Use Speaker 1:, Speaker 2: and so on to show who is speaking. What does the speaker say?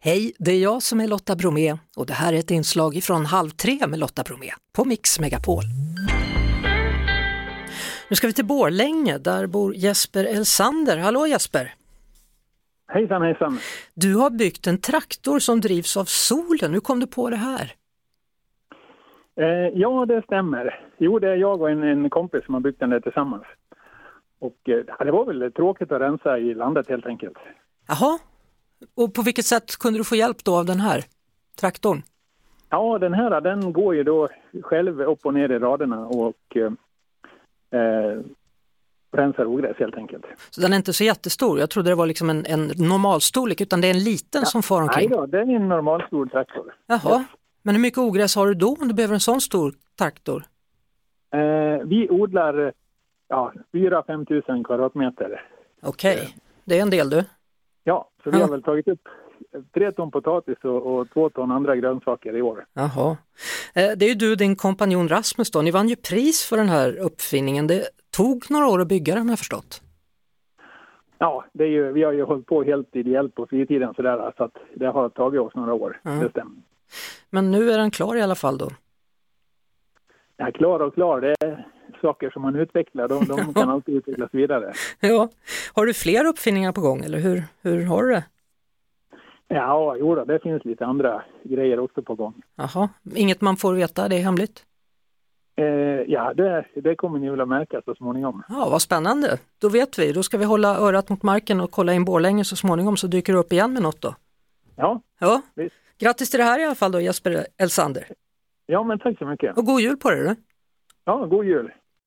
Speaker 1: Hej, det är jag som är Lotta Bromé och det här är ett inslag från Halv tre med Lotta Bromé på Mix Megapol. Nu ska vi till Borlänge, där bor Jesper Elsander. Hallå Jesper!
Speaker 2: Hejsan hejsan!
Speaker 1: Du har byggt en traktor som drivs av solen, hur kom du på det här?
Speaker 2: Eh, ja, det stämmer. Jo, det är jag och en, en kompis som har byggt den där tillsammans. Och eh, det var väl tråkigt att rensa i landet helt enkelt.
Speaker 1: Jaha, och på vilket sätt kunde du få hjälp då av den här traktorn?
Speaker 2: Ja, den här den går ju då själv upp och ner i raderna och eh, eh, rensar ogräs helt enkelt.
Speaker 1: Så den är inte så jättestor, jag trodde det var liksom en, en normalstorlek utan det är en liten som far
Speaker 2: Nej
Speaker 1: omkring.
Speaker 2: då, det är en normal stor traktor.
Speaker 1: Jaha, men hur mycket ogräs har du då om du behöver en sån stor traktor?
Speaker 2: Eh, vi odlar eh, ja, 4-5 tusen kvadratmeter.
Speaker 1: Okej, det är en del du.
Speaker 2: Ja, så vi
Speaker 1: Ja.
Speaker 2: har väl tagit upp tre ton potatis och, och två ton andra grönsaker i år.
Speaker 1: Jaha. Eh, Det är ju du och din kompanjon Rasmus då, ni vann ju pris för den här uppfinningen. Det tog några år att bygga den har jag förstått.
Speaker 2: Ja, det är ju, vi har ju hållit på helt ideellt på fritiden sådär, så att det har tagit oss några år, det stämmer.
Speaker 1: Men nu är den klar i alla fall då.
Speaker 2: Ja, klar och klar, det är saker som man utvecklar, de, de kan alltid utvecklas vidare.
Speaker 1: Ja. Har du fler uppfinningar på gång eller hur, hur har du det?
Speaker 2: Ja, jo då, det finns lite andra grejer också på gång.
Speaker 1: Jaha, inget man får veta, det är hemligt.
Speaker 2: Eh, ja, det, det kommer ni väl att märka så småningom.
Speaker 1: Ja, vad spännande. Då vet vi, då ska vi hålla örat mot marken och kolla in Borlänge så småningom så dyker du upp igen med något då.
Speaker 2: Ja,
Speaker 1: Ja,
Speaker 2: visst.
Speaker 1: grattis till det här i alla fall då Jesper Elsander.
Speaker 2: ja men tack så mycket.
Speaker 1: Och god jul på dig du.
Speaker 2: Ja, god jul!